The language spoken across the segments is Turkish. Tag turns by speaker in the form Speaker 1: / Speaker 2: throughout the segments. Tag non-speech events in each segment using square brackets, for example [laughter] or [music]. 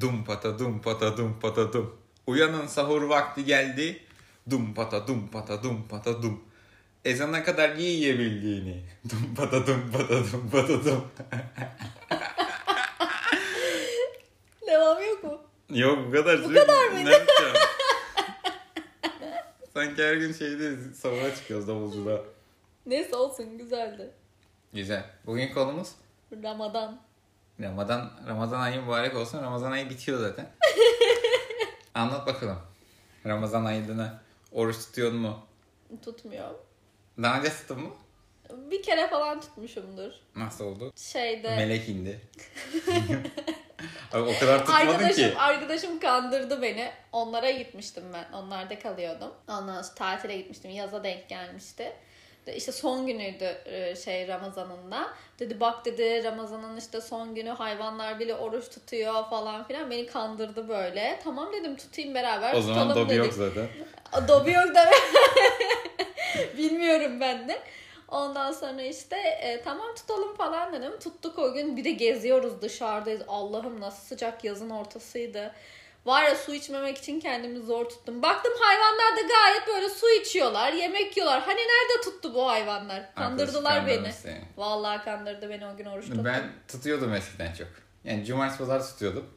Speaker 1: Dum pata dum pata dum pata dum. Uyanın sahur vakti geldi. Dum pata dum pata dum pata dum. Ezana kadar ye yiyebildiğini. [laughs] Dum pata dum pata dum pata dum. [laughs]
Speaker 2: Devam yok mu?
Speaker 1: Yok bu kadar. Bu
Speaker 2: kadar mıydı? [laughs]
Speaker 1: Sanki her gün şeyde sahura çıkıyoruz davulcuda.
Speaker 2: Neyse olsun güzeldi.
Speaker 1: Güzel. Bugün konumuz
Speaker 2: Ramazan.
Speaker 1: Ramazan, Ramazan ayı mübarek olsun. Ramazan ayı bitiyor zaten.
Speaker 2: [laughs]
Speaker 1: Anlat bakalım. Ramazan ayında oruç tutuyor mu?
Speaker 2: Tutmuyor.
Speaker 1: Daha önce tuttun mu?
Speaker 2: Bir kere falan tutmuşumdur.
Speaker 1: Nasıl oldu?
Speaker 2: Şeyde...
Speaker 1: Melek indi. Abi o kadar tutmadın
Speaker 2: Arkadaşım,
Speaker 1: ki.
Speaker 2: arkadaşım kandırdı beni. Onlara gitmiştim ben. Onlarda kalıyordum. Ondan sonra tatile gitmiştim. Yaza denk gelmişti. De İşte son günüydü e, şey Ramazan'ında. Dedi bak dedi Ramazan'ın işte son günü hayvanlar bile oruç tutuyor falan filan. Beni kandırdı böyle. Tamam dedim tutayım beraber
Speaker 1: O zaman
Speaker 2: tutalım
Speaker 1: dobi
Speaker 2: dedik.
Speaker 1: yok zaten.
Speaker 2: Adobe yok da [laughs] bilmiyorum ben de. Ondan sonra işte e, tamam tutalım falan dedim. Tuttuk o gün. Bir de geziyoruz dışarıdayız. Allah'ım nasıl sıcak yazın ortasıydı. Var ya su içmemek için kendimi zor tuttum. Baktım hayvanlar da gayet böyle su içiyorlar, yemek yiyorlar. Hani nerede tuttu bu hayvanlar? Kandırdılar
Speaker 1: Arkadaşım
Speaker 2: beni.
Speaker 1: kandırmış seni.
Speaker 2: Vallahi kandırdı beni o gün oruç tuttum.
Speaker 1: Ben tutuyordum eskiden çok. Yani cumartesi pazar tutuyordum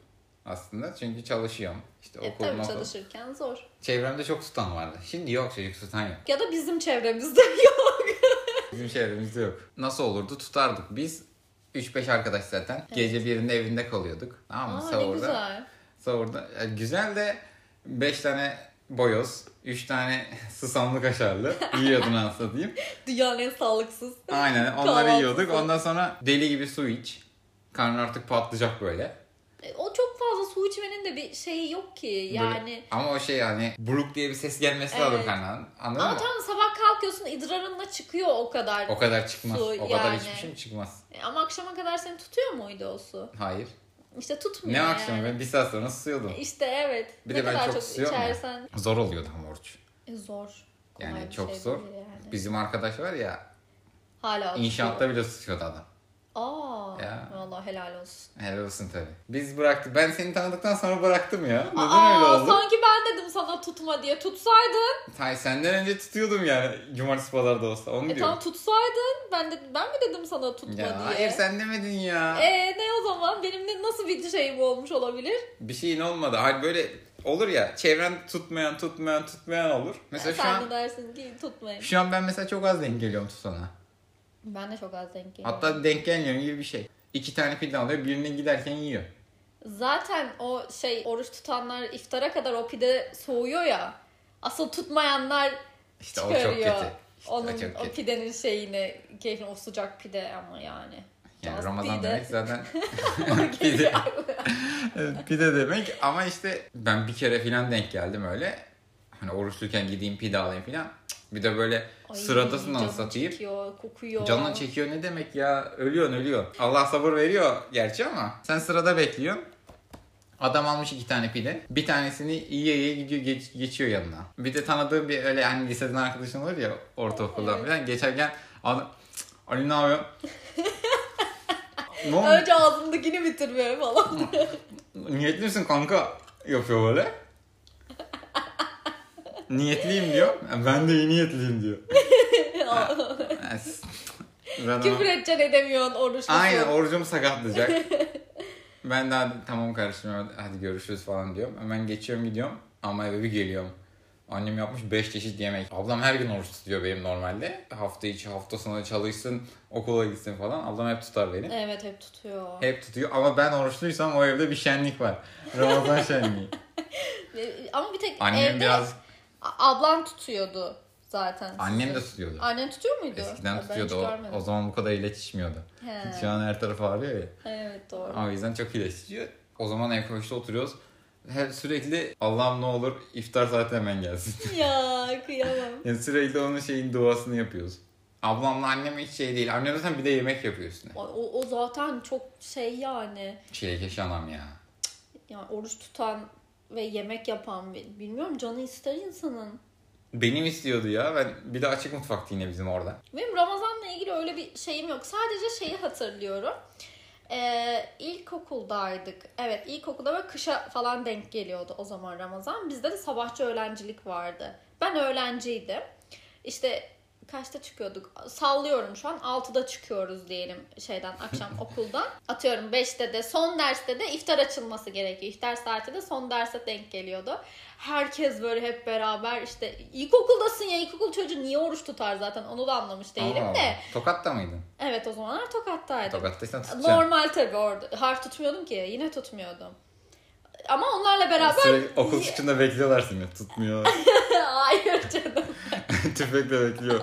Speaker 1: aslında. Çünkü çalışıyorum. İşte
Speaker 2: E,
Speaker 1: okul,
Speaker 2: tabii
Speaker 1: mokul.
Speaker 2: çalışırken zor.
Speaker 1: Çevremde çok tutan vardı. Şimdi yok çocuk tutan yok.
Speaker 2: Ya da bizim çevremizde [laughs] yok.
Speaker 1: Bizim çevremizde yok. Nasıl olurdu? Tutardık. Biz 3-5 arkadaş zaten. Gece birinde evinde kalıyorduk. Tamam mı?
Speaker 2: Aa, ne
Speaker 1: Sahurda.
Speaker 2: güzel.
Speaker 1: Sahurda. Ya güzel de 5 tane boyoz, 3 tane [laughs] susamlı kaşarlı yiyordun anasını satayım.
Speaker 2: Dünyanın en sağlıksız.
Speaker 1: Aynen onları
Speaker 2: Kahvaltısı.
Speaker 1: yiyorduk. Ondan sonra deli gibi su iç. Karnın artık patlayacak böyle.
Speaker 2: E, O çok fazla su içmenin de bir şeyi yok ki
Speaker 1: Böyle-
Speaker 2: yani.
Speaker 1: Ama o şey yani buruk diye bir ses gelmesi lazım
Speaker 2: Evet.
Speaker 1: karnından. Anladın
Speaker 2: Ama
Speaker 1: mı?
Speaker 2: tamam sabah kalkıyorsun idrarınla çıkıyor o kadar.
Speaker 1: O kadar çıkmaz.
Speaker 2: Su
Speaker 1: o kadar
Speaker 2: yani.
Speaker 1: içmişim çıkmaz.
Speaker 2: E, Ama akşama kadar seni tutuyor muydu o su?
Speaker 1: Hayır.
Speaker 2: İşte
Speaker 1: Ne
Speaker 2: tutmuyor yani.
Speaker 1: akşamı ben bir saat sonra susuyordum.
Speaker 2: İşte evet.
Speaker 1: Bir
Speaker 2: ne
Speaker 1: de ben
Speaker 2: kadar
Speaker 1: çok
Speaker 2: çok,
Speaker 1: susuyorum ya.
Speaker 2: içersen
Speaker 1: Zor oluyordu ama oruç.
Speaker 2: E, zor. Kolay
Speaker 1: Yani
Speaker 2: bir
Speaker 1: çok
Speaker 2: şey
Speaker 1: zor.
Speaker 2: değil yani.
Speaker 1: Bizim arkadaş var ya
Speaker 2: Hala tutuyor.
Speaker 1: inşaatta bile tutuyordu adam.
Speaker 2: Aa,
Speaker 1: Ya.
Speaker 2: vallahi helal olsun.
Speaker 1: Helal olsun tabii. Biz bıraktık. Ben seni tanıdıktan sonra bıraktım ya. Neden öyle
Speaker 2: Aa,
Speaker 1: oldu?
Speaker 2: sanki ben dedim sana tutma diye. Tutsaydın,
Speaker 1: Tay senden önce tutuyordum yani. Cumartesi pazarda olsa. Onu
Speaker 2: e,
Speaker 1: diyorum.
Speaker 2: tam tutsaydın. Ben de ben mi dedim sana tutma
Speaker 1: ya
Speaker 2: diye?
Speaker 1: hayır sen demedin ya.
Speaker 2: E ne o zaman? Benim ne, nasıl bir şeyim olmuş olabilir?
Speaker 1: Bir şeyin olmadı. Hayır böyle olur ya. Çevren tutmayan tutmayan tutmayan olur. Mesela şu
Speaker 2: Sen de
Speaker 1: an
Speaker 2: dersin ki tutmayın.
Speaker 1: şu an ben mesela çok az denk geliyorum tutana.
Speaker 2: Ben de çok az denk geliyorum.
Speaker 1: Hatta denk gelmiyorum gibi bir şey. İki tane pide alıyor birini giderken yiyor.
Speaker 2: Zaten o şey oruç tutanlar iftara kadar o pide soğuyor ya. Asıl tutmayanlar
Speaker 1: İşte o
Speaker 2: çıkarıyor.
Speaker 1: çok kötü. İşte
Speaker 2: Onun,
Speaker 1: o çok
Speaker 2: o
Speaker 1: kötü.
Speaker 2: pidenin şeyini, keyfini, o sıcak pide ama yani.
Speaker 1: Yani
Speaker 2: Just
Speaker 1: Ramazan
Speaker 2: pide.
Speaker 1: demek
Speaker 2: [laughs]
Speaker 1: zaten pide. Evet, pide demek ama işte ben bir kere filan denk geldim öyle. Hani oruçluyken gideyim pide alayım filan. Cık, Bir de böyle [laughs]
Speaker 2: Ay,
Speaker 1: sıradasın
Speaker 2: canın
Speaker 1: onu satayım.
Speaker 2: çekiyor, kokuyor.
Speaker 1: Canın çekiyor ne demek ya? Ölüyorsun ölüyor. Allah sabır veriyor gerçi ama sen sırada bekliyorsun. Adam almış iki tane pide. Bir tanesini yiye yiye gidiyor geç- geçiyor yanına. Bir de tanıdığım bir öyle hani liseden arkadaşın olur ya ortaokuldan
Speaker 2: Evet.
Speaker 1: falan. Geçerken adam "Cık, Ali ne yapıyorsun? ne oldu?
Speaker 2: Önce ağzımdakini bitirmeye falan.
Speaker 1: Niyetli misin kanka? Yapıyor böyle. Niyetliyim diyor. Ben de iyi niyetliyim diyor. Yani s- ben ona-
Speaker 2: Küfür edeceksin edemiyorsun oruçlusun.
Speaker 1: Aynen orucumu sakatlayacak.
Speaker 2: [laughs]
Speaker 1: ben de hadi, tamam kardeşim hadi- hadi görüşürüz falan diyorum. Hemen geçiyorum gidiyorum ama eve bir geliyorum. Annem yapmış 5 çeşit yemek. Ablam her gün oruç tutuyor benim normalde. Hafta içi hafta sonu çalışsın okula gitsin falan. Ablam hep tutar beni.
Speaker 2: Evet hep tutuyor.
Speaker 1: Hep tutuyor ama ben oruçluysam o evde bir şenlik var. Ramazan
Speaker 2: [laughs]
Speaker 1: şenliği.
Speaker 2: E, Ama bir tek
Speaker 1: Annem
Speaker 2: evde
Speaker 1: biraz
Speaker 2: A- ablan tutuyordu zaten. sizi.
Speaker 1: annem de tutuyordu.
Speaker 2: Annen tutuyor muydu?
Speaker 1: Eskiden
Speaker 2: Ben hiç
Speaker 1: tutuyordu. O,
Speaker 2: görmedim.
Speaker 1: o zaman bu kadar iletişmiyordu.
Speaker 2: He.
Speaker 1: Şu an her taraf ağrıyor ya.
Speaker 2: Evet doğru. [laughs]
Speaker 1: O yüzden çok iyileştiriyor. O zaman ev koğuşta oturuyoruz. Her sürekli Allah'ım ne olur iftar saati hemen gelsin. [laughs]
Speaker 2: ya kıyamam.
Speaker 1: Yani sürekli onun şeyin duasını yapıyoruz. Ablamla annem hiç şey değil. Annem zaten bir de yemek yapıyor üstüne.
Speaker 2: O, o, o zaten çok şey yani.
Speaker 1: Çilekeş anam ya.
Speaker 2: Yani oruç tutan ve yemek yapan bir- bilmiyorum canı ister insanın.
Speaker 1: Benim istiyordu ya. Ben bir de açık mutfaktı yine bizim orada.
Speaker 2: Benim Ramazan'la ilgili öyle bir şeyim yok. Sadece şeyi hatırlıyorum. Ee, ilkokuldaydık. Evet ilkokulda böyle kışa falan denk geliyordu o zaman Ramazan. Bizde de sabahçı öğrencilik vardı. Ben öğrenciydim. İşte kaçta çıkıyorduk? Sallıyorum şu an 6'da çıkıyoruz diyelim şeyden akşam okuldan. Atıyorum 5'te de son derste de iftar açılması gerekiyor. İftar saati de son derse denk geliyordu. Herkes böyle hep beraber işte ilkokuldasın ya ilkokul çocuğu niye oruç tutar zaten onu da anlamış değilim
Speaker 1: Allah
Speaker 2: de.
Speaker 1: Allah. Tokat'ta mıydın?
Speaker 2: Evet o zamanlar Tokat'taydım.
Speaker 1: Tokat'taysan tutacaksın.
Speaker 2: Normal tabii orada. Harf tutmuyordum ki. Yine tutmuyordum. Ama onlarla beraber...
Speaker 1: Sürekli okul çıkışında bekliyorlar seni. Tutmuyorlar.
Speaker 2: [laughs] Hayır canım.
Speaker 1: [laughs] Tüfekle bekliyor.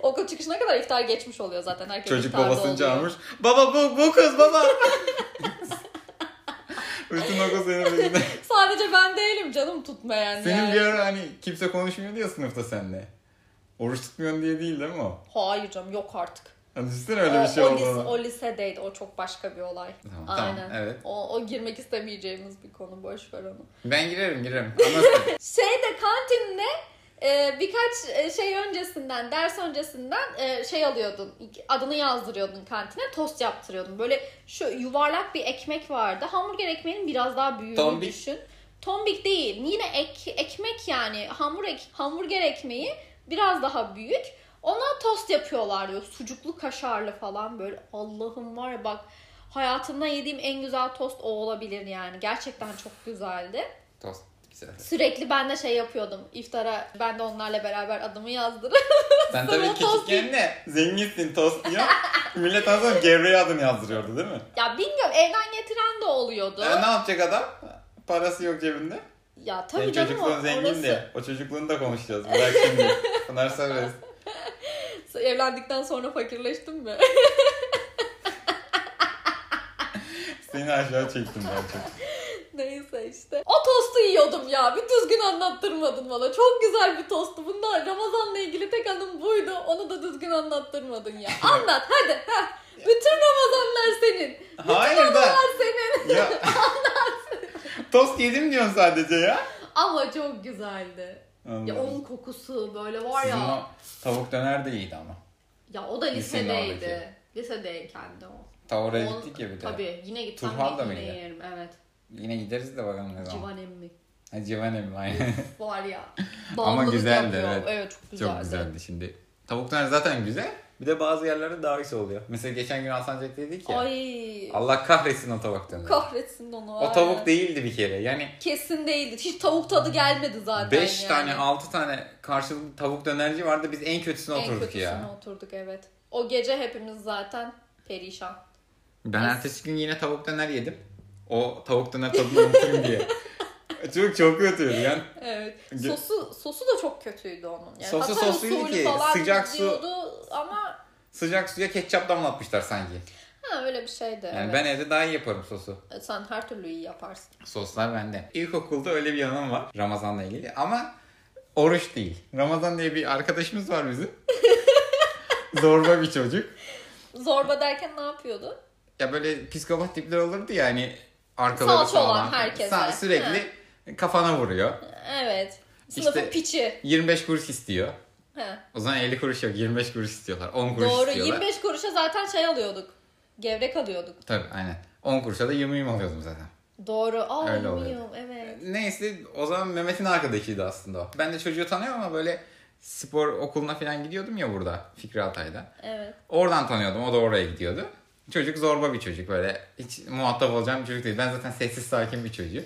Speaker 2: Okul çıkışına kadar iftar geçmiş oluyor zaten. Herkes
Speaker 1: Çocuk
Speaker 2: iftarda
Speaker 1: babasını
Speaker 2: oluyor.
Speaker 1: çağırmış. Baba bu, bu kız baba. [laughs] Bütün okul senin
Speaker 2: [laughs]
Speaker 1: peşinde.
Speaker 2: Sadece ben değilim canım tutmayan.
Speaker 1: Senin
Speaker 2: yani.
Speaker 1: bir ara hani kimse konuşmuyor ya sınıfta seninle. Oruç tutmuyorsun diye değil değil mi o?
Speaker 2: Hayır canım yok artık.
Speaker 1: Hani düşünsene öyle bir şey
Speaker 2: o, o, lis-
Speaker 1: oldu.
Speaker 2: o lisedeydi. O çok başka bir olay.
Speaker 1: Tamam,
Speaker 2: Aynen.
Speaker 1: tamam, evet.
Speaker 2: O, o girmek istemeyeceğimiz bir konu. Boş ver onu.
Speaker 1: Ben girerim girerim.
Speaker 2: [laughs]
Speaker 1: Anlatsın.
Speaker 2: Şeyde kantinde e, birkaç e, şey öncesinden, ders öncesinden e, şey alıyordun. Adını yazdırıyordun kantine, tost yaptırıyordun. Böyle şu yuvarlak bir ekmek vardı. Hamburger ekmeğinin biraz daha büyüğünü
Speaker 1: Tombik.
Speaker 2: düşün. Tombik değil. Yine ek, ekmek yani hamur ek, hamburger ekmeği biraz daha büyük. Ona tost yapıyorlar diyor. Sucuklu kaşarlı falan böyle. Allah'ım var ya bak hayatımda yediğim en güzel tost o olabilir yani. Gerçekten çok güzeldi.
Speaker 1: Tost. Güzel.
Speaker 2: Sürekli ben de şey yapıyordum. İftara ben de onlarla beraber adımı yazdırıp
Speaker 1: Sen
Speaker 2: Sana
Speaker 1: tabii
Speaker 2: tost
Speaker 1: küçükken de zenginsin tost
Speaker 2: [laughs]
Speaker 1: diyor. Millet az sonra gevreye adını yazdırıyordu değil mi?
Speaker 2: ya bilmiyorum evden getiren de oluyordu.
Speaker 1: E, ne yapacak adam? Parası yok cebinde.
Speaker 2: Ya tabii
Speaker 1: Senin
Speaker 2: canım o-
Speaker 1: çocukluğun zengin
Speaker 2: orası.
Speaker 1: de. O çocukluğunu da konuşacağız. Bırak şimdi. Pınar Sarıs.
Speaker 2: [laughs] Evlendikten sonra fakirleştim mi? [laughs]
Speaker 1: Seni aşağı çektim gerçekten.
Speaker 2: Neyse işte. O tostu yiyordum ya. Bir düzgün anlattırmadın bana. Çok güzel bir tostu. Bunda Ramazan'la ilgili tek anım buydu. Onu da düzgün anlattırmadın ya. Anlat hadi. heh. Bütün Ramazanlar senin.
Speaker 1: Hayır da.
Speaker 2: Ramazanlar senin.
Speaker 1: Ya. Tost yedim diyorsun sadece ya.
Speaker 2: Ama çok güzeldi. Ya
Speaker 1: Allah'ım.
Speaker 2: onun kokusu böyle var ya.
Speaker 1: Sizin o tavuk döner de iyiydi ama.
Speaker 2: Ya o da
Speaker 1: Lisenin
Speaker 2: lisedeydi. Lisedeyken de o.
Speaker 1: Ta oraya
Speaker 2: On-
Speaker 1: gittik ya bir de.
Speaker 2: Tabii yine gitsem
Speaker 1: Turhan da
Speaker 2: yine
Speaker 1: mıydı?
Speaker 2: yerim evet.
Speaker 1: Yine gideriz de bakalım ne zaman.
Speaker 2: Civan emmi
Speaker 1: Ha, Civan emmi [laughs] aynen.
Speaker 2: var ya.
Speaker 1: Ama
Speaker 2: Bağımlılık
Speaker 1: güzeldi,
Speaker 2: yapıyor.
Speaker 1: evet.
Speaker 2: çok güzeldi.
Speaker 1: Çok güzeldi şimdi. Tavuk döner zaten güzel. Bir de bazı yerlerde daha güzel oluyor. Mesela geçen gün Alsancak dedik ya.
Speaker 2: Ay
Speaker 1: Allah kahretsin o tavuk döneri.
Speaker 2: kahretsin onu.
Speaker 1: O tavuk değildi bir kere. Yani
Speaker 2: Kesin değildi. Hiç tavuk tadı gelmedi zaten
Speaker 1: 5
Speaker 2: yani.
Speaker 1: tane 6 tane karşılıklı tavuk dönerci vardı. Biz en kötüsüne
Speaker 2: En
Speaker 1: oturduk
Speaker 2: kötüsüne
Speaker 1: ya.
Speaker 2: oturduk evet. O gece hepimiz zaten perişan.
Speaker 1: Ben ertesi gün yine tavuk döner yedim. O tavuk döner tadını unutayım
Speaker 2: [laughs]
Speaker 1: diye. Çok çok kötüydü yani.
Speaker 2: Evet.
Speaker 1: Ge-
Speaker 2: Sosu sosu da çok kötüydü onun. Yani
Speaker 1: Sosu
Speaker 2: Hatay
Speaker 1: sosuydu
Speaker 2: usulü
Speaker 1: ki,
Speaker 2: falan
Speaker 1: sıcak su-
Speaker 2: diyordu Ama
Speaker 1: Sıcak suya ketçap damlatmışlar sanki.
Speaker 2: ha öyle bir şeydi.
Speaker 1: Yani
Speaker 2: evet.
Speaker 1: ben evde daha iyi yaparım sosu.
Speaker 2: Sen her türlü iyi yaparsın.
Speaker 1: Soslar bende. İlkokulda öyle bir yanım var Ramazan'la ilgili ama oruç değil. Ramazan diye bir arkadaşımız var
Speaker 2: [laughs]
Speaker 1: bizim. Zorba bir çocuk.
Speaker 2: Zorba derken ne yapıyordu?
Speaker 1: Ya böyle psikopat tipler olurdu ya hani arkaları
Speaker 2: Salça
Speaker 1: sağlam.
Speaker 2: olan herkese.
Speaker 1: Sa- Sürekli kafana vuruyor.
Speaker 2: Evet. Sınıfın
Speaker 1: İşte-
Speaker 2: piçi.
Speaker 1: 25 kuruş istiyor.
Speaker 2: He.
Speaker 1: O zaman 50 kuruş yok 25 kuruş istiyorlar. 10 kuruş
Speaker 2: Doğru.
Speaker 1: istiyorlar.
Speaker 2: 25 kuruşa zaten şey alıyorduk. Gevrek alıyorduk.
Speaker 1: Tabii aynen. 10 kuruşa da 20'yi alıyordum zaten.
Speaker 2: Doğru. Aa
Speaker 1: Öyle oluyor.
Speaker 2: bilmiyorum. Evet.
Speaker 1: Neyse o zaman Mehmet'in arkadaşıydı aslında o. Ben de çocuğu tanıyorum ama böyle spor okuluna falan gidiyordum ya burada Fikri Altay'da.
Speaker 2: Evet.
Speaker 1: Oradan tanıyordum o da oraya gidiyordu. Çocuk zorba bir çocuk böyle hiç muhatap olacağım bir çocuk değil. Ben zaten sessiz sakin bir çocuğum.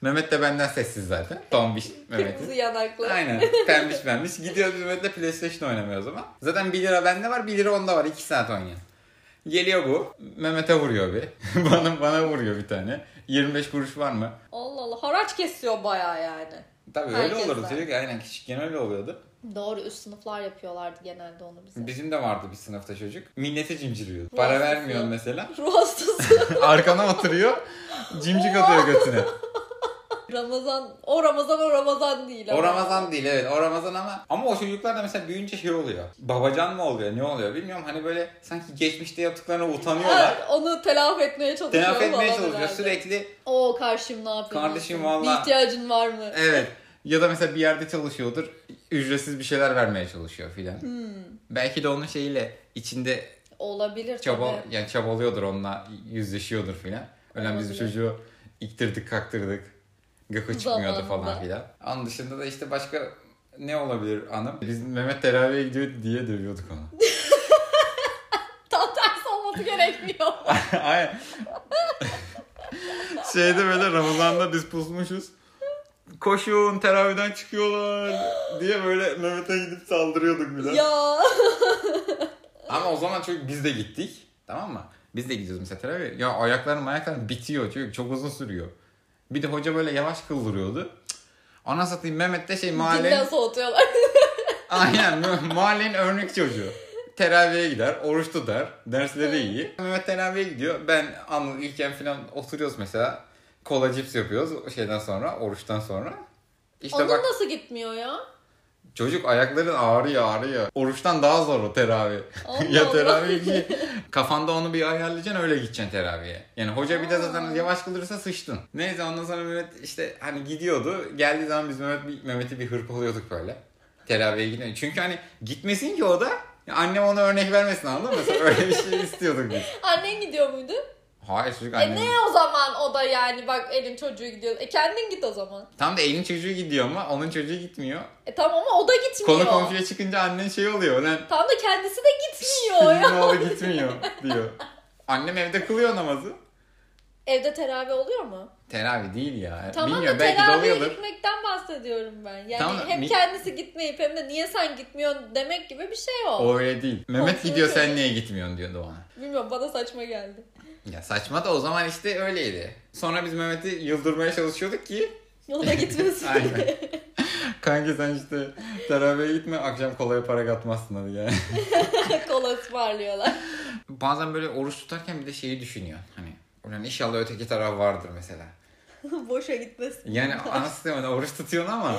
Speaker 1: Mehmet de benden sessiz zaten. Tombiş
Speaker 2: Kırmızı
Speaker 1: Mehmet'in.
Speaker 2: yanaklı.
Speaker 1: Aynen. Pembiş pembiş. Gidiyoruz Mehmet'le PlayStation oynamıyor o zaman. Zaten 1 lira bende var 1 lira onda var. 2 saat oynuyor. Geliyor bu. Mehmet'e vuruyor bir. [laughs] bana, bana vuruyor bir tane. 25 kuruş var mı?
Speaker 2: Allah Allah. Haraç kesiyor baya yani.
Speaker 1: Tabii öyle
Speaker 2: Herkes
Speaker 1: olurdu
Speaker 2: var.
Speaker 1: çocuk. Aynen küçükken öyle oluyordu.
Speaker 2: Doğru. Üst sınıflar yapıyorlardı genelde onu bize.
Speaker 1: Bizim de vardı bir sınıfta çocuk. Minnete cimciriyor.
Speaker 2: Vay.
Speaker 1: Para vermiyor mesela. [laughs]
Speaker 2: Ruh hastası. [laughs]
Speaker 1: Arkana oturuyor. Cimcik atıyor götüne.
Speaker 2: Ramazan. O Ramazan o Ramazan değil.
Speaker 1: O
Speaker 2: ama.
Speaker 1: Ramazan değil evet o Ramazan ama ama o çocuklar da mesela büyüyünce şey oluyor. Babacan mı oluyor ne oluyor bilmiyorum hani böyle sanki geçmişte yaptıklarına utanıyorlar.
Speaker 2: Ha, onu telafi etmeye
Speaker 1: [laughs]
Speaker 2: çalışıyor.
Speaker 1: Telafi etmeye
Speaker 2: falan
Speaker 1: çalışıyor
Speaker 2: herhalde.
Speaker 1: sürekli
Speaker 2: Oo karşım ne yapıyorsun?
Speaker 1: Kardeşim valla-
Speaker 2: Bir ihtiyacın var mı?
Speaker 1: evet ya da mesela bir yerde çalışıyordur
Speaker 2: Hmm.
Speaker 1: ücretsiz bir şeyler vermeye çalışıyor filan. Belki de onun şeyiyle içinde
Speaker 2: Olabilir
Speaker 1: Çaba,
Speaker 2: tabii.
Speaker 1: yani çabalıyordur onunla yüzleşiyordur filan. Ölen biz bu
Speaker 2: Olabilir.
Speaker 1: çocuğu iktirdik kaktırdık. Gıkı çıkmıyordu
Speaker 2: Zamanında.
Speaker 1: falan filan. Onun dışında da işte başka ne olabilir anım? Biz Mehmet teraviye gidiyor diye dövüyorduk onu. [laughs]
Speaker 2: Tam tersi olması gerekmiyor. [laughs]
Speaker 1: Aynen. Şeyde böyle Ramazan'da biz pusmuşuz. Koşun teraviden çıkıyorlar diye böyle Mehmet'e gidip saldırıyorduk bile.
Speaker 2: ya. [laughs]
Speaker 1: Ama o zaman çünkü biz de gittik. Tamam mı? Biz de gidiyoruz mesela teraviye. Ya ayaklarım ayaklarım bitiyor çünkü çok uzun sürüyor. Bir de hoca böyle yavaş kıldırıyordu. Cık. Ana satayım Mehmet de şey mahallenin,
Speaker 2: Dinle soğutuyorlar.
Speaker 1: aynen, [laughs] mahallenin örnek çocuğu. Teraviye gider, oruç tutar, dersleri iyi. Mehmet teraviye gidiyor. Ben Anıl İlken falan oturuyoruz mesela. Kola cips yapıyoruz o şeyden sonra, oruçtan sonra. İşte
Speaker 2: Onun
Speaker 1: bak
Speaker 2: nasıl gitmiyor ya?
Speaker 1: Çocuk ayakların ağrıyor ağrıyor. Oruçtan daha zor o teravih.
Speaker 2: Allah
Speaker 1: [laughs] ya
Speaker 2: Allah.
Speaker 1: teravih ki kafanda onu bir ayarlayacaksın öyle gideceksin teravihe. Yani hoca bir de zaten
Speaker 2: Aa.
Speaker 1: yavaş kılırsa sıçtın. Neyse ondan sonra Mehmet işte hani gidiyordu. Geldiği zaman biz Mehmet bir, Mehmet'i bir hırpalıyorduk böyle. Teravihe gidiyor. Çünkü hani gitmesin ki o da. Ya annem ona örnek vermesin anladın mı? Mesela öyle bir
Speaker 2: [laughs]
Speaker 1: şey istiyorduk biz.
Speaker 2: Annen gidiyor muydu?
Speaker 1: Hayır çocuk
Speaker 2: E
Speaker 1: annem.
Speaker 2: ne o zaman o da yani bak elin çocuğu gidiyor. E kendin git o zaman.
Speaker 1: Tam da elin çocuğu gidiyor ama onun çocuğu gitmiyor.
Speaker 2: E tamam ama o da gitmiyor.
Speaker 1: Konu komşuya çıkınca annen şey oluyor. Lan
Speaker 2: Tam da kendisi de gitmiyor ya.
Speaker 1: Bizim oğlu gitmiyor diyor. Annem evde kılıyor namazı.
Speaker 2: Evde teravih oluyor mu?
Speaker 1: Teravih değil ya.
Speaker 2: Tamam
Speaker 1: Bilmiyorum
Speaker 2: da
Speaker 1: belki de
Speaker 2: teravihe
Speaker 1: oluyordur.
Speaker 2: gitmekten bahsediyorum ben. Yani
Speaker 1: Tamam da
Speaker 2: hem
Speaker 1: mi-
Speaker 2: kendisi gitmeyip hem de niye sen gitmiyorsun demek gibi bir şey o.
Speaker 1: O öyle değil. Mehmet
Speaker 2: Komşu
Speaker 1: gidiyor
Speaker 2: öyle.
Speaker 1: sen niye gitmiyorsun diyordu ona.
Speaker 2: Bilmiyorum bana saçma geldi.
Speaker 1: Ya saçma da o zaman işte öyleydi. Sonra biz Mehmet'i yıldırmaya çalışıyorduk ki.
Speaker 2: O da
Speaker 1: [laughs]
Speaker 2: gitmesin. [laughs]
Speaker 1: Aynen. Kanka sen işte teravihe gitme akşam kolaya para katmazsın hadi yani.
Speaker 2: Kola ısmarlıyorlar. [laughs]
Speaker 1: Bazen böyle oruç tutarken bir de şeyi düşünüyor. Hani ulan inşallah öteki taraf vardır mesela.
Speaker 2: Boşa gitmesin. [laughs]
Speaker 1: Yani anasını yani oruç tutuyorsun ama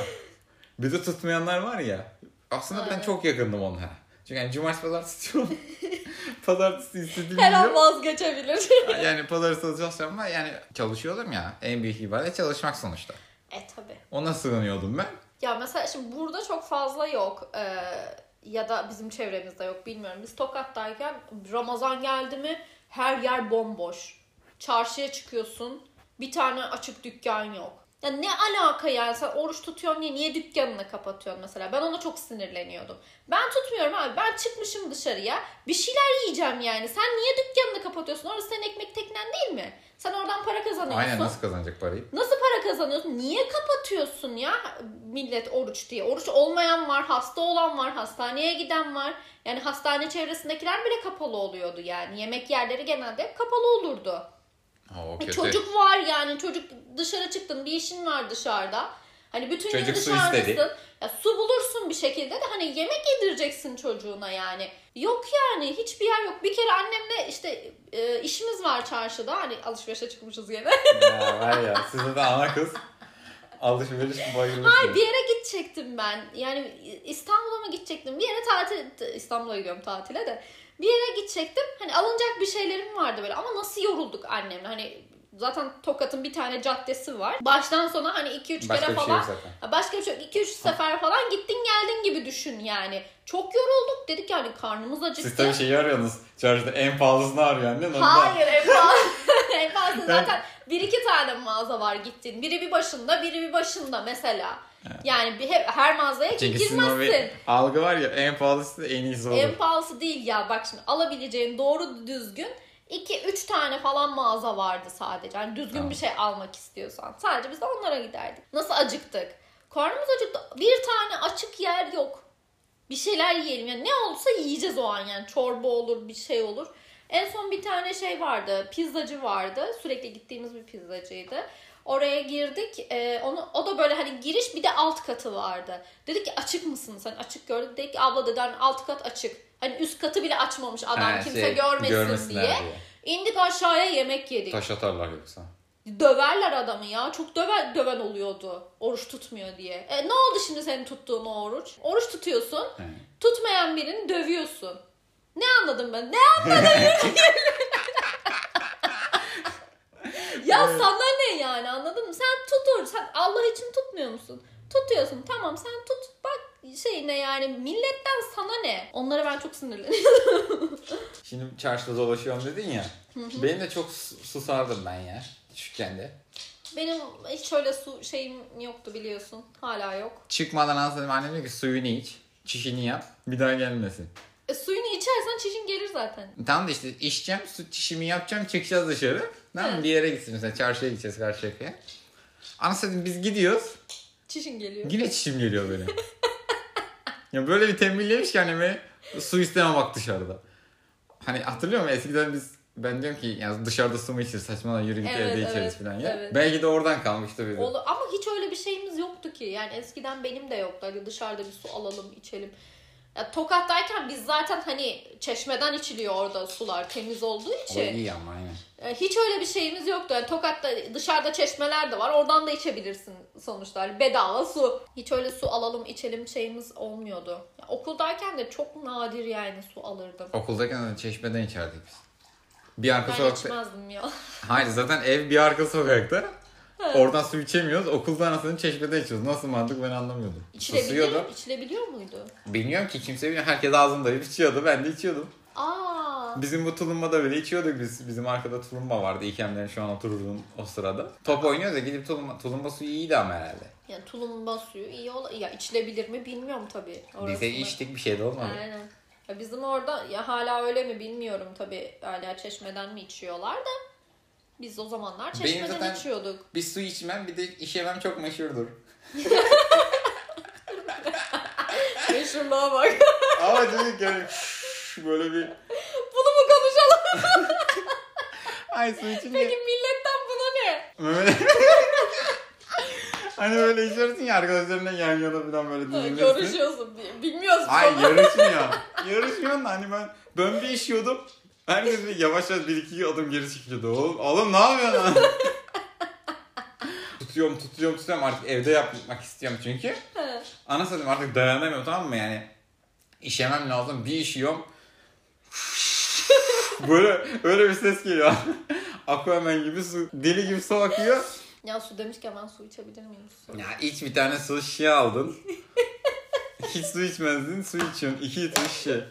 Speaker 1: bir de tutmayanlar var ya. Aslında ben
Speaker 2: Aynen.
Speaker 1: çok yakındım ona. Çünkü yani cumartesi pazar
Speaker 2: [laughs]
Speaker 1: tutuyorum. Pazartesi istediğim
Speaker 2: Her an
Speaker 1: yok.
Speaker 2: vazgeçebilir.
Speaker 1: Yani pazartesi çalışacağım ama yani çalışıyordum ya. En büyük ibadet çalışmak sonuçta.
Speaker 2: [laughs] e tabi.
Speaker 1: Ona sığınıyordum ben.
Speaker 2: Ya mesela şimdi burada çok fazla yok. Ee, ya da bizim çevremizde yok bilmiyorum. Biz Tokat'tayken Ramazan geldi mi her yer bomboş. Çarşıya çıkıyorsun bir tane açık dükkan yok. Ya ne alaka yani sen oruç tutuyorsun diye niye dükkanını kapatıyorsun mesela? Ben ona çok sinirleniyordum. Ben tutmuyorum abi ben çıkmışım dışarıya bir şeyler yiyeceğim yani. Sen niye dükkanını kapatıyorsun? Orası senin ekmek teknen değil mi? Sen oradan para kazanıyorsun.
Speaker 1: Aynen nasıl kazanacak parayı?
Speaker 2: Nasıl para kazanıyorsun? Niye kapatıyorsun ya millet oruç diye? Oruç olmayan var, hasta olan var, hastaneye giden var. Yani hastane çevresindekiler bile kapalı oluyordu yani. Yemek yerleri genelde hep kapalı olurdu.
Speaker 1: Ha, o
Speaker 2: E,
Speaker 1: kötü.
Speaker 2: Çocuk var yani. Çocuk dışarı çıktın, bir işin var dışarıda. Hani bütün gün
Speaker 1: Çocuk su
Speaker 2: dışarıdasın.
Speaker 1: istedi.
Speaker 2: Ya su bulursun bir şekilde de hani yemek yedireceksin çocuğuna yani. Yok yani hiçbir yer yok. Bir kere annemle işte e, işimiz var çarşıda. Hani alışverişe çıkmışız gene.
Speaker 1: ya, var ya sizde de ana kız alışveriş bayılmış.
Speaker 2: Ay, bir yere gidecektim ben. Yani İstanbul'a mı gidecektim? Bir yere tatil İstanbul'a gidiyorum tatile de. Bir yere gidecektim. Hani alınacak bir şeylerim vardı böyle ama nasıl yorulduk annemle. Hani zaten Tokat'ın bir tane caddesi var. Baştan sona hani 2 3
Speaker 1: Başka
Speaker 2: kere
Speaker 1: bir şey
Speaker 2: falan
Speaker 1: yok zaten.
Speaker 2: Ha, Başka bir şey yok. 2-3 sefer falan gittin geldin gibi düşün yani. Çok yorulduk dedik yani karnımız acıktı.
Speaker 1: Siz tabii şeyi arıyorsunuz. Çarşıda en pahalısını arıyor annen. ondan- [laughs]
Speaker 2: Hayır Efa. Efa'sın zaten bir iki tane mağaza var gittin. Biri bir başında biri bir başında mesela. Yani bir, he- her mağazaya
Speaker 1: Çünkü sizin o bir
Speaker 2: girmezsin.
Speaker 1: algı var ya en pahalısı da en iyisi olur.
Speaker 2: En pahalısı değil ya bak şimdi alabileceğin doğru düzgün 2-3 tane falan mağaza vardı sadece. Yani düzgün
Speaker 1: Tamam.
Speaker 2: bir şey almak istiyorsan. Sadece biz de onlara giderdik. Nasıl acıktık? Karnımız acıktı. Bir tane açık yer yok. Bir şeyler yiyelim. Yani ne olursa yiyeceğiz o an yani. Çorba olur, bir şey olur. En son bir tane şey vardı. Pizzacı vardı. Sürekli gittiğimiz bir pizzacıydı. Oraya girdik. Ee, onu o da böyle hani giriş bir de alt katı vardı. Dedi ki açık mısın sen? Açık gördük. Dedi ki abla dedi hani alt kat açık. Hani üst katı bile açmamış adam
Speaker 1: Ha,
Speaker 2: kimse
Speaker 1: şey,
Speaker 2: görmesin,
Speaker 1: görmesinler
Speaker 2: diye. İndik aşağıya yemek yedik.
Speaker 1: Taş atarlar yoksa.
Speaker 2: Döverler adamı ya. Çok döven, döven oluyordu. Oruç tutmuyor diye. E, ne oldu şimdi senin tuttuğun o oruç? Oruç tutuyorsun.
Speaker 1: He.
Speaker 2: Tutmayan birini dövüyorsun. Ne anladım ben? Ne anladım? ya sana ne yani anladın mı? Sen tutur. Sen Allah için tutmuyor musun? Tutuyorsun. Tamam sen tut. Bak şey ne yani milletten sana ne? Onlara ben çok sinirleniyorum. [laughs]
Speaker 1: Şimdi çarşıda dolaşıyorum dedin ya. Benim de çok su- susardım ben ya. Küçükken de.
Speaker 2: Benim hiç öyle su şeyim yoktu biliyorsun. Hala yok.
Speaker 1: Çıkmadan anasını annem diyor ki suyunu iç. Çişini yap. Bir daha gelmesin.
Speaker 2: E, suyunu içersen çişin gelir zaten.
Speaker 1: Tamam da işte içeceğim, su çişimi yapacağım, çıkacağız dışarı. Tamam mı?
Speaker 2: Evet.
Speaker 1: Bir yere gitsin mesela çarşıya gideceğiz Karşıyaka'ya. Anasını dedim biz gidiyoruz.
Speaker 2: Çişin geliyor.
Speaker 1: Yine çişim geliyor böyle. ya böyle bir tembihlemiş ki anneme su isteme bak dışarıda. Hani hatırlıyor musun eskiden biz ben diyorum ki ya dışarıda su mu içeriz saçmalama yürü git
Speaker 2: Evet,
Speaker 1: evde
Speaker 2: evet,
Speaker 1: içeriz falan ya.
Speaker 2: evet.
Speaker 1: Belki de oradan kalmıştı benim.
Speaker 2: Olu- ama hiç öyle bir şeyimiz yoktu ki. Yani eskiden benim de yoktu. Hani dışarıda bir su alalım, içelim. Ya, Tokat'tayken biz zaten hani çeşmeden içiliyor orada sular temiz olduğu
Speaker 1: O
Speaker 2: için.
Speaker 1: Şey- iyi ama aynen.
Speaker 2: E, Hiç öyle bir şeyimiz yoktu. Yani Tokat'ta dışarıda çeşmeler de var. Oradan da içebilirsin sonuçlar. Bedava su. Hiç öyle su alalım içelim şeyimiz olmuyordu. Ya, okuldayken de çok nadir yani su alırdım.
Speaker 1: Okuldayken de çeşmeden içerdik biz. Bir arka
Speaker 2: Ben
Speaker 1: sokakta.
Speaker 2: içmezdim ya. [laughs]
Speaker 1: Hayır zaten ev bir arka sokakta. Oradan su içemiyoruz. Okulda anasını çeşmeden içiyoruz. Nasıl mantık ben anlamıyordum.
Speaker 2: İçilebiliyor, içilebiliyor muydu?
Speaker 1: Bilmiyorum ki kimse bilmiyor. Herkes ağzında bir içiyordu. Ben de içiyordum.
Speaker 2: Aa,
Speaker 1: Bizim bu tulumbada bile içiyorduk biz. Bizim arkada tulumba vardı. İkemlerin şu an oturduğum o sırada. Top oynuyoruz ya gidip tulumba, tulumba suyu iyiydi ama herhalde.
Speaker 2: yani tulumba suyu iyi ol ya içilebilir mi bilmiyorum tabii.
Speaker 1: Biz
Speaker 2: orasını.
Speaker 1: de içtik bir şey de olmadı.
Speaker 2: Aynen. Ya bizim orada ya hala öyle mi bilmiyorum tabii. Hala çeşmeden mi içiyorlar da biz o zamanlar
Speaker 1: Benim
Speaker 2: çeşmeden
Speaker 1: zaten-
Speaker 2: içiyorduk.
Speaker 1: Bir su içmem bir de işemem çok
Speaker 2: [laughs]
Speaker 1: meşhurdur.
Speaker 2: Meşhurluğa bak. [laughs]
Speaker 1: ama çocuk yani böyle bir
Speaker 2: Bunu mu konuşalım?
Speaker 1: ay su içince
Speaker 2: Peki milletten buna ne?
Speaker 1: Böyle- [laughs] hani böyle içersin ya arkadaşlarına yan yana falan böyle
Speaker 2: Ha,
Speaker 1: dizilirsin.
Speaker 2: Görüşüyorsun diye. Bilmiyoruz
Speaker 1: Ay
Speaker 2: sonra.
Speaker 1: yarışmıyor. [laughs] Yarışmıyorsun da hani ben ben bir işiyordum. Herkes bir yavaş yavaş bir iki adım geri çekiliyordu. Oğlum, oğlum ne yapıyorsun lan? [laughs] tutuyorum tutuyorum tutuyorum artık evde yapmak istiyorum çünkü.
Speaker 2: [laughs] Ha.
Speaker 1: Ana satayım artık dayanamıyorum tamam mı yani. İşemem lazım bir işiyorum. [laughs] böyle öyle bir ses geliyor. [laughs] Aquaman gibi su deli gibi su akıyor.
Speaker 2: Ya su demişken ben su içebilir miyim? Su.
Speaker 1: Ya iç bir tane su şişe [laughs] aldın. Hiç su içmezdin, su içiyorsun. İki litre şişe.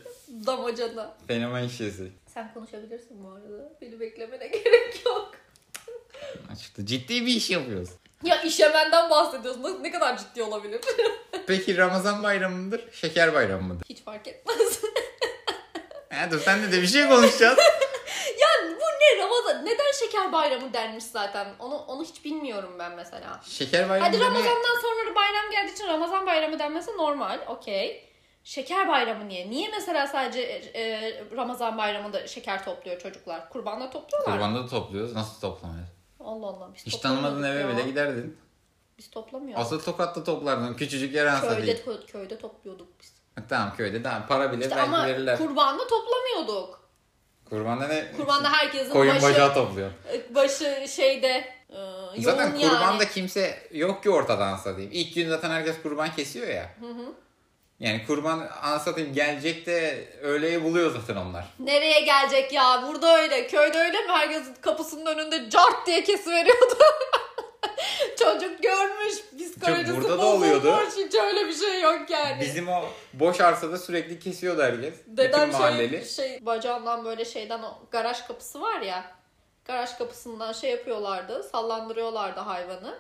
Speaker 2: Damacana.
Speaker 1: Fenomen şişesi.
Speaker 2: Sen konuşabilirsin bu arada. Beni beklemene [laughs] gerek yok.
Speaker 1: Açıkta ciddi bir iş yapıyoruz.
Speaker 2: Ya işemenden bahsediyorsun. Ne- Ne kadar ciddi olabilir? [laughs]
Speaker 1: Peki Ramazan bayramı mıdır, şeker bayramı mıdır?
Speaker 2: Hiç fark etmez.
Speaker 1: Ha, dur sen de de bir şey konuşacağız.
Speaker 2: ya bu ne Ramazan? Neden şeker bayramı denmiş zaten? Onu onu hiç bilmiyorum ben mesela.
Speaker 1: Şeker bayramı
Speaker 2: Hadi
Speaker 1: da ne?
Speaker 2: Ramazan'dan sonra bayram geldiği için Ramazan bayramı denmesi normal. Okey. Şeker bayramı niye? Niye mesela sadece e, e, Ramazan bayramında şeker topluyor çocuklar? Kurbanla topluyorlar. mı?
Speaker 1: Kurbanda da topluyoruz. Nasıl toplamıyoruz?
Speaker 2: Allah Allah. Biz
Speaker 1: Hiç
Speaker 2: toplamıyorduk
Speaker 1: tanımadığın eve
Speaker 2: ya.
Speaker 1: bile giderdin.
Speaker 2: Biz toplamıyoruz.
Speaker 1: Asıl tokatta toplardın. Küçücük yer ansa
Speaker 2: köyde,
Speaker 1: değil.
Speaker 2: kö- köyde topluyorduk biz.
Speaker 1: Ha, Tamam köyde. Tamam. Para bile
Speaker 2: İşte
Speaker 1: belki
Speaker 2: ama
Speaker 1: verirler.
Speaker 2: kurbanla toplamıyorduk.
Speaker 1: Kurbanda ne?
Speaker 2: Kurbanda herkesin
Speaker 1: Koyun
Speaker 2: başı, e,
Speaker 1: bacağı topluyor.
Speaker 2: başı şeyde e, yoğun
Speaker 1: Zaten
Speaker 2: yani.
Speaker 1: kurbanda kimse yok ki ortada anlatayım. İlk gün zaten herkes kurban kesiyor ya. Yani kurban anlatayım gelecek de öğleyi buluyor zaten onlar.
Speaker 2: Nereye gelecek ya? Burada öyle. Köyde öyle mi? Herkesin kapısının önünde cart diye kesiveriyordu. [laughs] Çocuk görmüş. Psikolojisi
Speaker 1: burada da
Speaker 2: bozulmuş.
Speaker 1: oluyordu.
Speaker 2: Hiç öyle bir şey yok yani.
Speaker 1: Bizim o boş arsada sürekli kesiyordu herkes.
Speaker 2: Dedem
Speaker 1: Bütün mahalleli.
Speaker 2: şey, şey bacağından böyle şeyden o garaj kapısı var ya. Garaj kapısından şey yapıyorlardı. Sallandırıyorlardı hayvanı.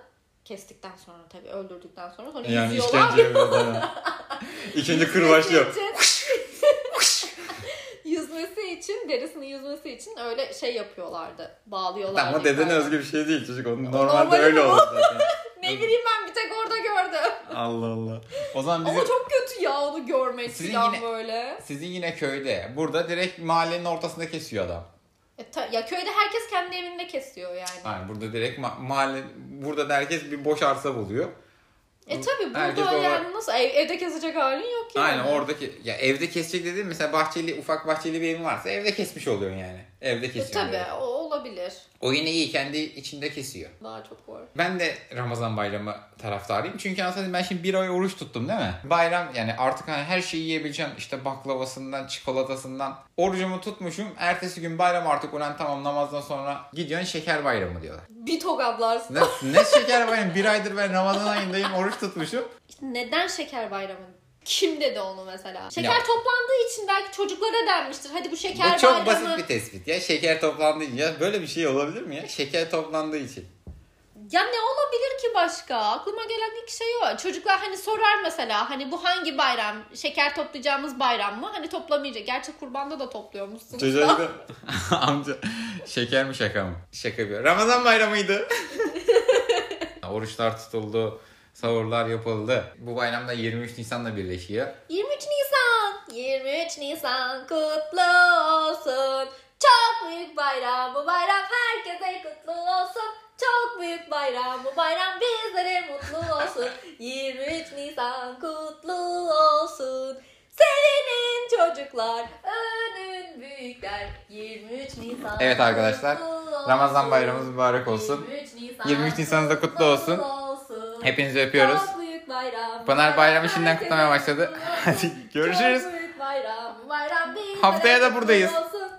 Speaker 2: Kestikten sonra tabii öldürdükten sonra sonra
Speaker 1: Yani
Speaker 2: yüzüyorlar.
Speaker 1: işkence yapıyorlar.
Speaker 2: [laughs]
Speaker 1: İkinci kırbaçlıyor.
Speaker 2: yüzmesi için, derisini yüzmesi için öyle şey yapıyorlardı. Bağlıyorlardı.
Speaker 1: Tamam o dedene
Speaker 2: yukarıdan.
Speaker 1: özgü bir şey değil çocuk. Onun
Speaker 2: normali
Speaker 1: normalde öyle
Speaker 2: bu.
Speaker 1: olur
Speaker 2: [laughs]
Speaker 1: zaten.
Speaker 2: Ne bileyim ben bir tek orada gördüm.
Speaker 1: Allah Allah. O zaman bizim,
Speaker 2: Ama çok kötü ya onu görmek
Speaker 1: Sizin
Speaker 2: falan
Speaker 1: yine-
Speaker 2: böyle.
Speaker 1: sizin yine köyde. Burada direkt mahallenin ortasında kesiyor adam.
Speaker 2: E ta- ya köyde herkes kendi evinde kesiyor yani.
Speaker 1: Yani burada direkt ma- mahalle, burada da herkes bir boş arsa buluyor.
Speaker 2: E tabi
Speaker 1: Herkes
Speaker 2: burada
Speaker 1: olarak-
Speaker 2: yani nasıl ev- evde kesecek halin yok yani.
Speaker 1: Aynen oradaki ya evde kesecek dediğim mesela bahçeli ufak bahçeli bir evin varsa evde kesmiş oluyorsun yani. Evde
Speaker 2: E
Speaker 1: kesiyor.
Speaker 2: tabi o olabilir.
Speaker 1: O yine iyi kendi içinde kesiyor.
Speaker 2: Daha çok var.
Speaker 1: Ben de Ramazan bayramı taraftarıyım. Çünkü aslında ben şimdi bir ay oruç tuttum değil mi? Bayram yani artık hani her şeyi yiyebileceğim. İşte baklavasından, çikolatasından. Orucumu tutmuşum. Ertesi gün bayram artık ulan tamam namazdan sonra gidiyorsun şeker bayramı diyorlar.
Speaker 2: Bir tokatlarsın.
Speaker 1: Ne, ne şeker bayramı? Bir aydır ben Ramazan ayındayım oruç tutmuşum.
Speaker 2: İşte neden şeker bayramı Kim dedi onu mesela? Şeker
Speaker 1: Ya.
Speaker 2: toplandığı için belki çocuklara denmiştir. Hadi bu şeker
Speaker 1: Bu çok
Speaker 2: bayramı.
Speaker 1: basit bir tespit ya. Şeker toplandığı için. Ya böyle bir şey olabilir mi ya? Şeker toplandığı için.
Speaker 2: Ya ne olabilir ki başka? Aklıma gelen ilk şey o. Çocuklar hani sorar mesela hani bu hangi bayram? Şeker toplayacağımız bayram mı? Hani toplamayacak. Gerçi kurbanda da topluyormuşsunuz.
Speaker 1: Çocuğa
Speaker 2: da.
Speaker 1: gidiyor. [laughs] Amca şeker mi şaka mı? Şaka bir. Ramazan bayramıydı. Oruçlar tutuldu. Sahurlar yapıldı. Bu bayramda 23 Nisan'la birleşiyor.
Speaker 2: 23 Nisan, 23 Nisan kutlu olsun. Çok büyük bayram bu bayram herkese kutlu olsun. Çok büyük bayram bu bayram bizlere
Speaker 1: [laughs]
Speaker 2: mutlu olsun. 23 Nisan kutlu olsun. Sevinin çocuklar, önün büyükler. 23 Nisan
Speaker 1: Evet arkadaşlar,
Speaker 2: kutlu olsun.
Speaker 1: Ramazan bayramımız mübarek olsun.
Speaker 2: 23 Nisan,
Speaker 1: 23 Nisan'ınız da kutlu olsun.
Speaker 2: olsun.
Speaker 1: Hepinizi öpüyoruz.
Speaker 2: Çok büyük bayram.
Speaker 1: Pınar bayramı şimdiden
Speaker 2: herkese
Speaker 1: kutlamaya başladı. [laughs]
Speaker 2: kutlu olsun.
Speaker 1: Hadi görüşürüz.
Speaker 2: Çok büyük bayram, bayram değil.
Speaker 1: Haftaya da
Speaker 2: Bayram
Speaker 1: buradayız.
Speaker 2: kutlu olsun.